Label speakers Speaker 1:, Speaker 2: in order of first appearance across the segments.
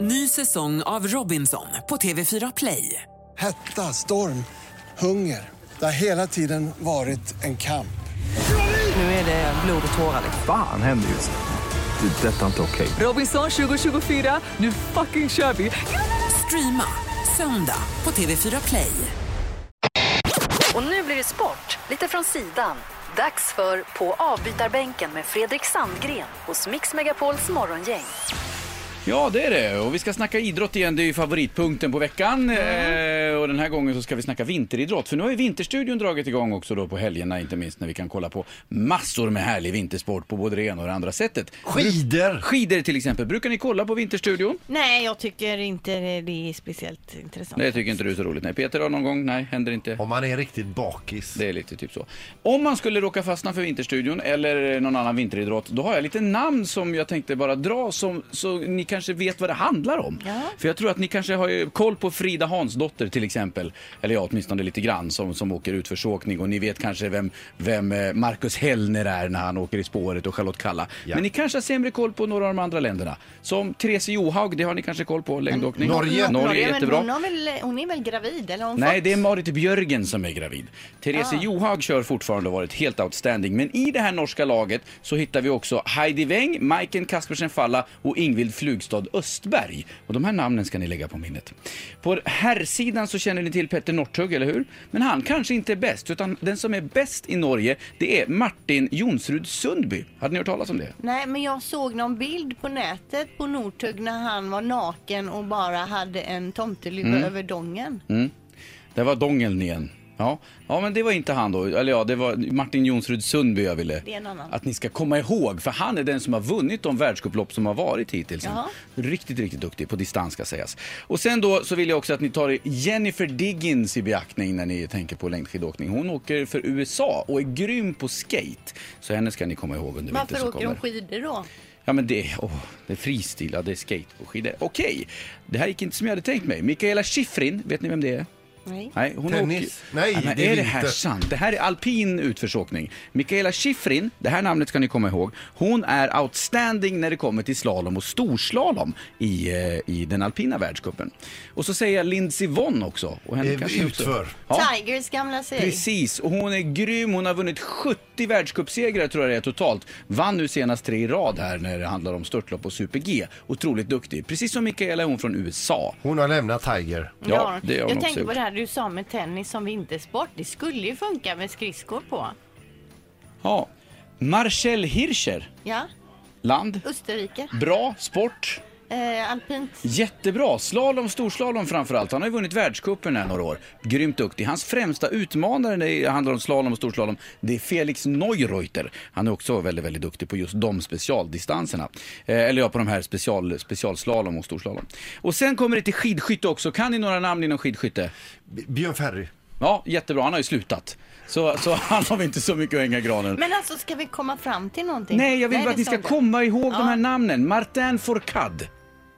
Speaker 1: Ny säsong av Robinson på TV4 Play.
Speaker 2: Hetta, storm, hunger. Det har hela tiden varit en kamp.
Speaker 1: Nu är det blod och tårar. liksom.
Speaker 3: Fan händer just nu. Det. är Detta är inte okej.
Speaker 1: Robinson 2024, nu fucking kör vi! Streama söndag på TV4 Play.
Speaker 4: Och nu blir det sport, lite från sidan. Dags för På avbytarbänken med Fredrik Sandgren hos Mix Megapols morgongäng.
Speaker 5: Ja, det är det. Och vi ska snacka idrott igen. Det är ju favoritpunkten på veckan. Eh, och den här gången så ska vi snacka vinteridrott. För nu har ju Vinterstudion dragit igång också då på helgerna, inte minst när vi kan kolla på massor med härlig vintersport på både det ena och det andra sättet.
Speaker 6: Skidor!
Speaker 5: Skidor till exempel. Brukar ni kolla på Vinterstudion?
Speaker 7: Nej, jag tycker inte det är speciellt intressant.
Speaker 5: Nej, jag tycker inte det är så roligt. Nej, Peter har någon gång? Nej, händer inte.
Speaker 6: Om man är riktigt bakis.
Speaker 5: Det är lite typ så. Om man skulle råka fastna för Vinterstudion eller någon annan vinteridrott, då har jag lite namn som jag tänkte bara dra som, så ni kanske vet vad det handlar om. För jag tror att ni kanske har ju koll på Frida Hansdotter till exempel, eller ja, åtminstone lite grann, som, som åker ut för såkning och ni vet kanske vem, vem eh, Marcus Hellner är när han åker i spåret och Charlotte Kalla.
Speaker 6: Ja.
Speaker 5: Men ni kanske har sämre koll på några av de andra länderna. Som Therese Johaug, det har ni kanske koll på, längdåkning.
Speaker 6: Norge.
Speaker 5: Norge är
Speaker 7: men
Speaker 5: jättebra.
Speaker 7: Hon, har väl, hon är väl gravid? Eller har hon
Speaker 5: Nej,
Speaker 7: fått... Ah.
Speaker 5: det är Marit Björgen som är gravid. Therese Johaug kör fortfarande och har varit helt outstanding. Men i det här norska laget så hittar vi också Heidi Weng, Majken Kaspersen Falla och Ingvild Flugstad Östberg. Och de här namnen ska ni lägga på minnet. På herrsidan så känner ni till Petter Northug, eller hur? Men han kanske inte är bäst, utan den som är bäst i Norge, det är Martin Jonsrud Sundby. Hade ni hört talas om det?
Speaker 7: Nej, men jag såg någon bild på nätet på Northug när han var naken och bara hade en tomteluva
Speaker 5: Mm.
Speaker 7: över dongen.
Speaker 5: Det var dongeln igen. Ja. ja, men det var inte han då. Eller ja, det var Martin Jonsrud Sundby jag ville
Speaker 7: Det är en annan.
Speaker 5: att ni ska komma ihåg. För han är den som har vunnit de världscuplopp som har varit hittills.
Speaker 7: Jaha.
Speaker 5: Riktigt, riktigt duktig på distans ska sägas. Och sen då så vill jag också att ni tar Jennifer Diggins i beaktning när ni tänker på längdskidåkning. Hon åker för USA och är grym på skate. Så henne ska ni komma ihåg under vintern
Speaker 7: Varför
Speaker 5: som
Speaker 7: åker de
Speaker 5: kommer.
Speaker 7: skidor då?
Speaker 5: Ja men det, åh, det är freestyle, ja, det är skate och skidor. Okej, det här gick inte som jag hade tänkt mig. Mikaela Shiffrin, vet ni vem det är?
Speaker 7: Nej.
Speaker 5: Nej, hon
Speaker 6: Tennis.
Speaker 5: åker...
Speaker 6: Nej,
Speaker 5: men
Speaker 6: det är
Speaker 5: är det
Speaker 6: det
Speaker 5: här
Speaker 6: inte.
Speaker 5: sant? Det här är alpin utförsåkning. Mikaela Shiffrin, det här namnet ska ni komma ihåg, hon är outstanding när det kommer till slalom och storslalom i, eh, i den alpina världscupen. Och så säger jag Lindsey Vonn också. Och henne
Speaker 6: Eh,
Speaker 5: kanske också-
Speaker 6: utför.
Speaker 5: Ja.
Speaker 7: Tigers gamla tjej.
Speaker 5: Precis, och hon är grym. Hon har vunnit 70 världscupsegrar tror jag det är totalt. Vann nu senast tre i rad här när det handlar om störtlopp och super-G. Otroligt duktig. Precis som Mikaela är hon från USA.
Speaker 6: Hon har lämnat Tiger.
Speaker 5: Ja, det har hon
Speaker 7: jag
Speaker 5: också
Speaker 7: tänker på
Speaker 5: gjort.
Speaker 7: det här du sa med tennis som vintersport. Det skulle ju funka med skridskor på.
Speaker 5: Ja. Marcel Hirscher,
Speaker 7: Ja,
Speaker 5: land.
Speaker 7: Österrike.
Speaker 5: Bra sport.
Speaker 7: Eh, alpint.
Speaker 5: Jättebra. Slalom, storslalom framförallt. Han har ju vunnit världscupen här några år. Grymt duktig. Hans främsta utmanare när det handlar om slalom och storslalom, det är Felix Neureuter. Han är också väldigt, väldigt duktig på just de specialdistanserna. Eh, eller ja, på de här special, specialslalom och storslalom. Och sen kommer det till skidskytte också. Kan ni några namn inom skidskytte?
Speaker 6: B- Björn Ferry.
Speaker 5: Ja, jättebra. Han har ju slutat. Så, så han har väl inte så mycket att hänga i granen.
Speaker 7: Men alltså, ska vi komma fram till någonting?
Speaker 5: Nej, jag vill bara
Speaker 7: det
Speaker 5: att ni
Speaker 7: sa
Speaker 5: ska
Speaker 7: du.
Speaker 5: komma ihåg de här namnen. Martin Fourcade.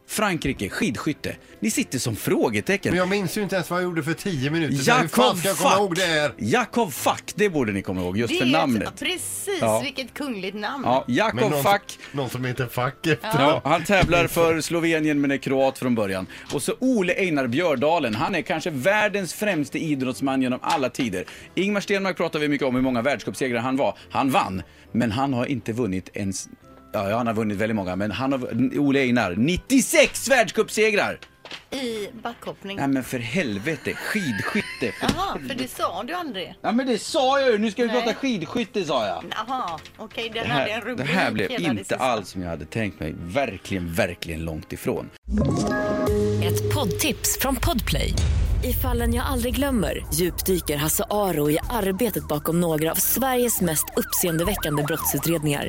Speaker 5: Frankrike, skidskytte. Ni sitter som frågetecken.
Speaker 6: Men jag minns ju inte ens vad jag gjorde för tio minuter sedan. Hur fan
Speaker 5: Jakob
Speaker 6: ska jag komma ihåg
Speaker 5: Fack!
Speaker 6: det här?
Speaker 5: Jakob Fack, det borde ni komma ihåg just
Speaker 7: Det
Speaker 5: för
Speaker 7: är ett-
Speaker 5: namnet.
Speaker 7: Precis,
Speaker 5: Ja.
Speaker 7: vilket kungligt namn.
Speaker 5: Ja,
Speaker 6: Men
Speaker 5: Jakob
Speaker 6: någon,
Speaker 5: Fack.
Speaker 6: någon som heter Fack efter.
Speaker 5: Ja, han tävlar för Slovenien men är kroat från början. Och så Ole Einar Björdalen, han är kanske världens främste idrottsman genom alla tider. Ingmar Stenmark pratar vi mycket om hur många världscupsegrar han var. Han vann, men han har inte vunnit ens... Ja, ja, han har vunnit väldigt många, men han har... Ole Einar, 96
Speaker 7: Mm.
Speaker 5: världscupsegrar!
Speaker 7: I backhoppning.
Speaker 5: Nej men för helvete, skidskytte! För...
Speaker 7: Jaha, för det sa du aldrig.
Speaker 5: Ja men det sa jag ju, nu ska vi
Speaker 7: Nej.
Speaker 5: prata skidskytte sa jag!
Speaker 7: Jaha, okej, den
Speaker 5: Det
Speaker 7: hade en
Speaker 5: här, det
Speaker 7: rubrik
Speaker 5: här blev
Speaker 7: hela det
Speaker 5: inte
Speaker 7: sista.
Speaker 5: alls som jag hade tänkt mig. Verkligen, verkligen långt ifrån.
Speaker 4: Ett poddtips från Podplay.
Speaker 8: I fallen jag aldrig glömmer djupdyker Hasse Aro i arbetet bakom några av Sveriges mest uppseendeväckande brottsutredningar.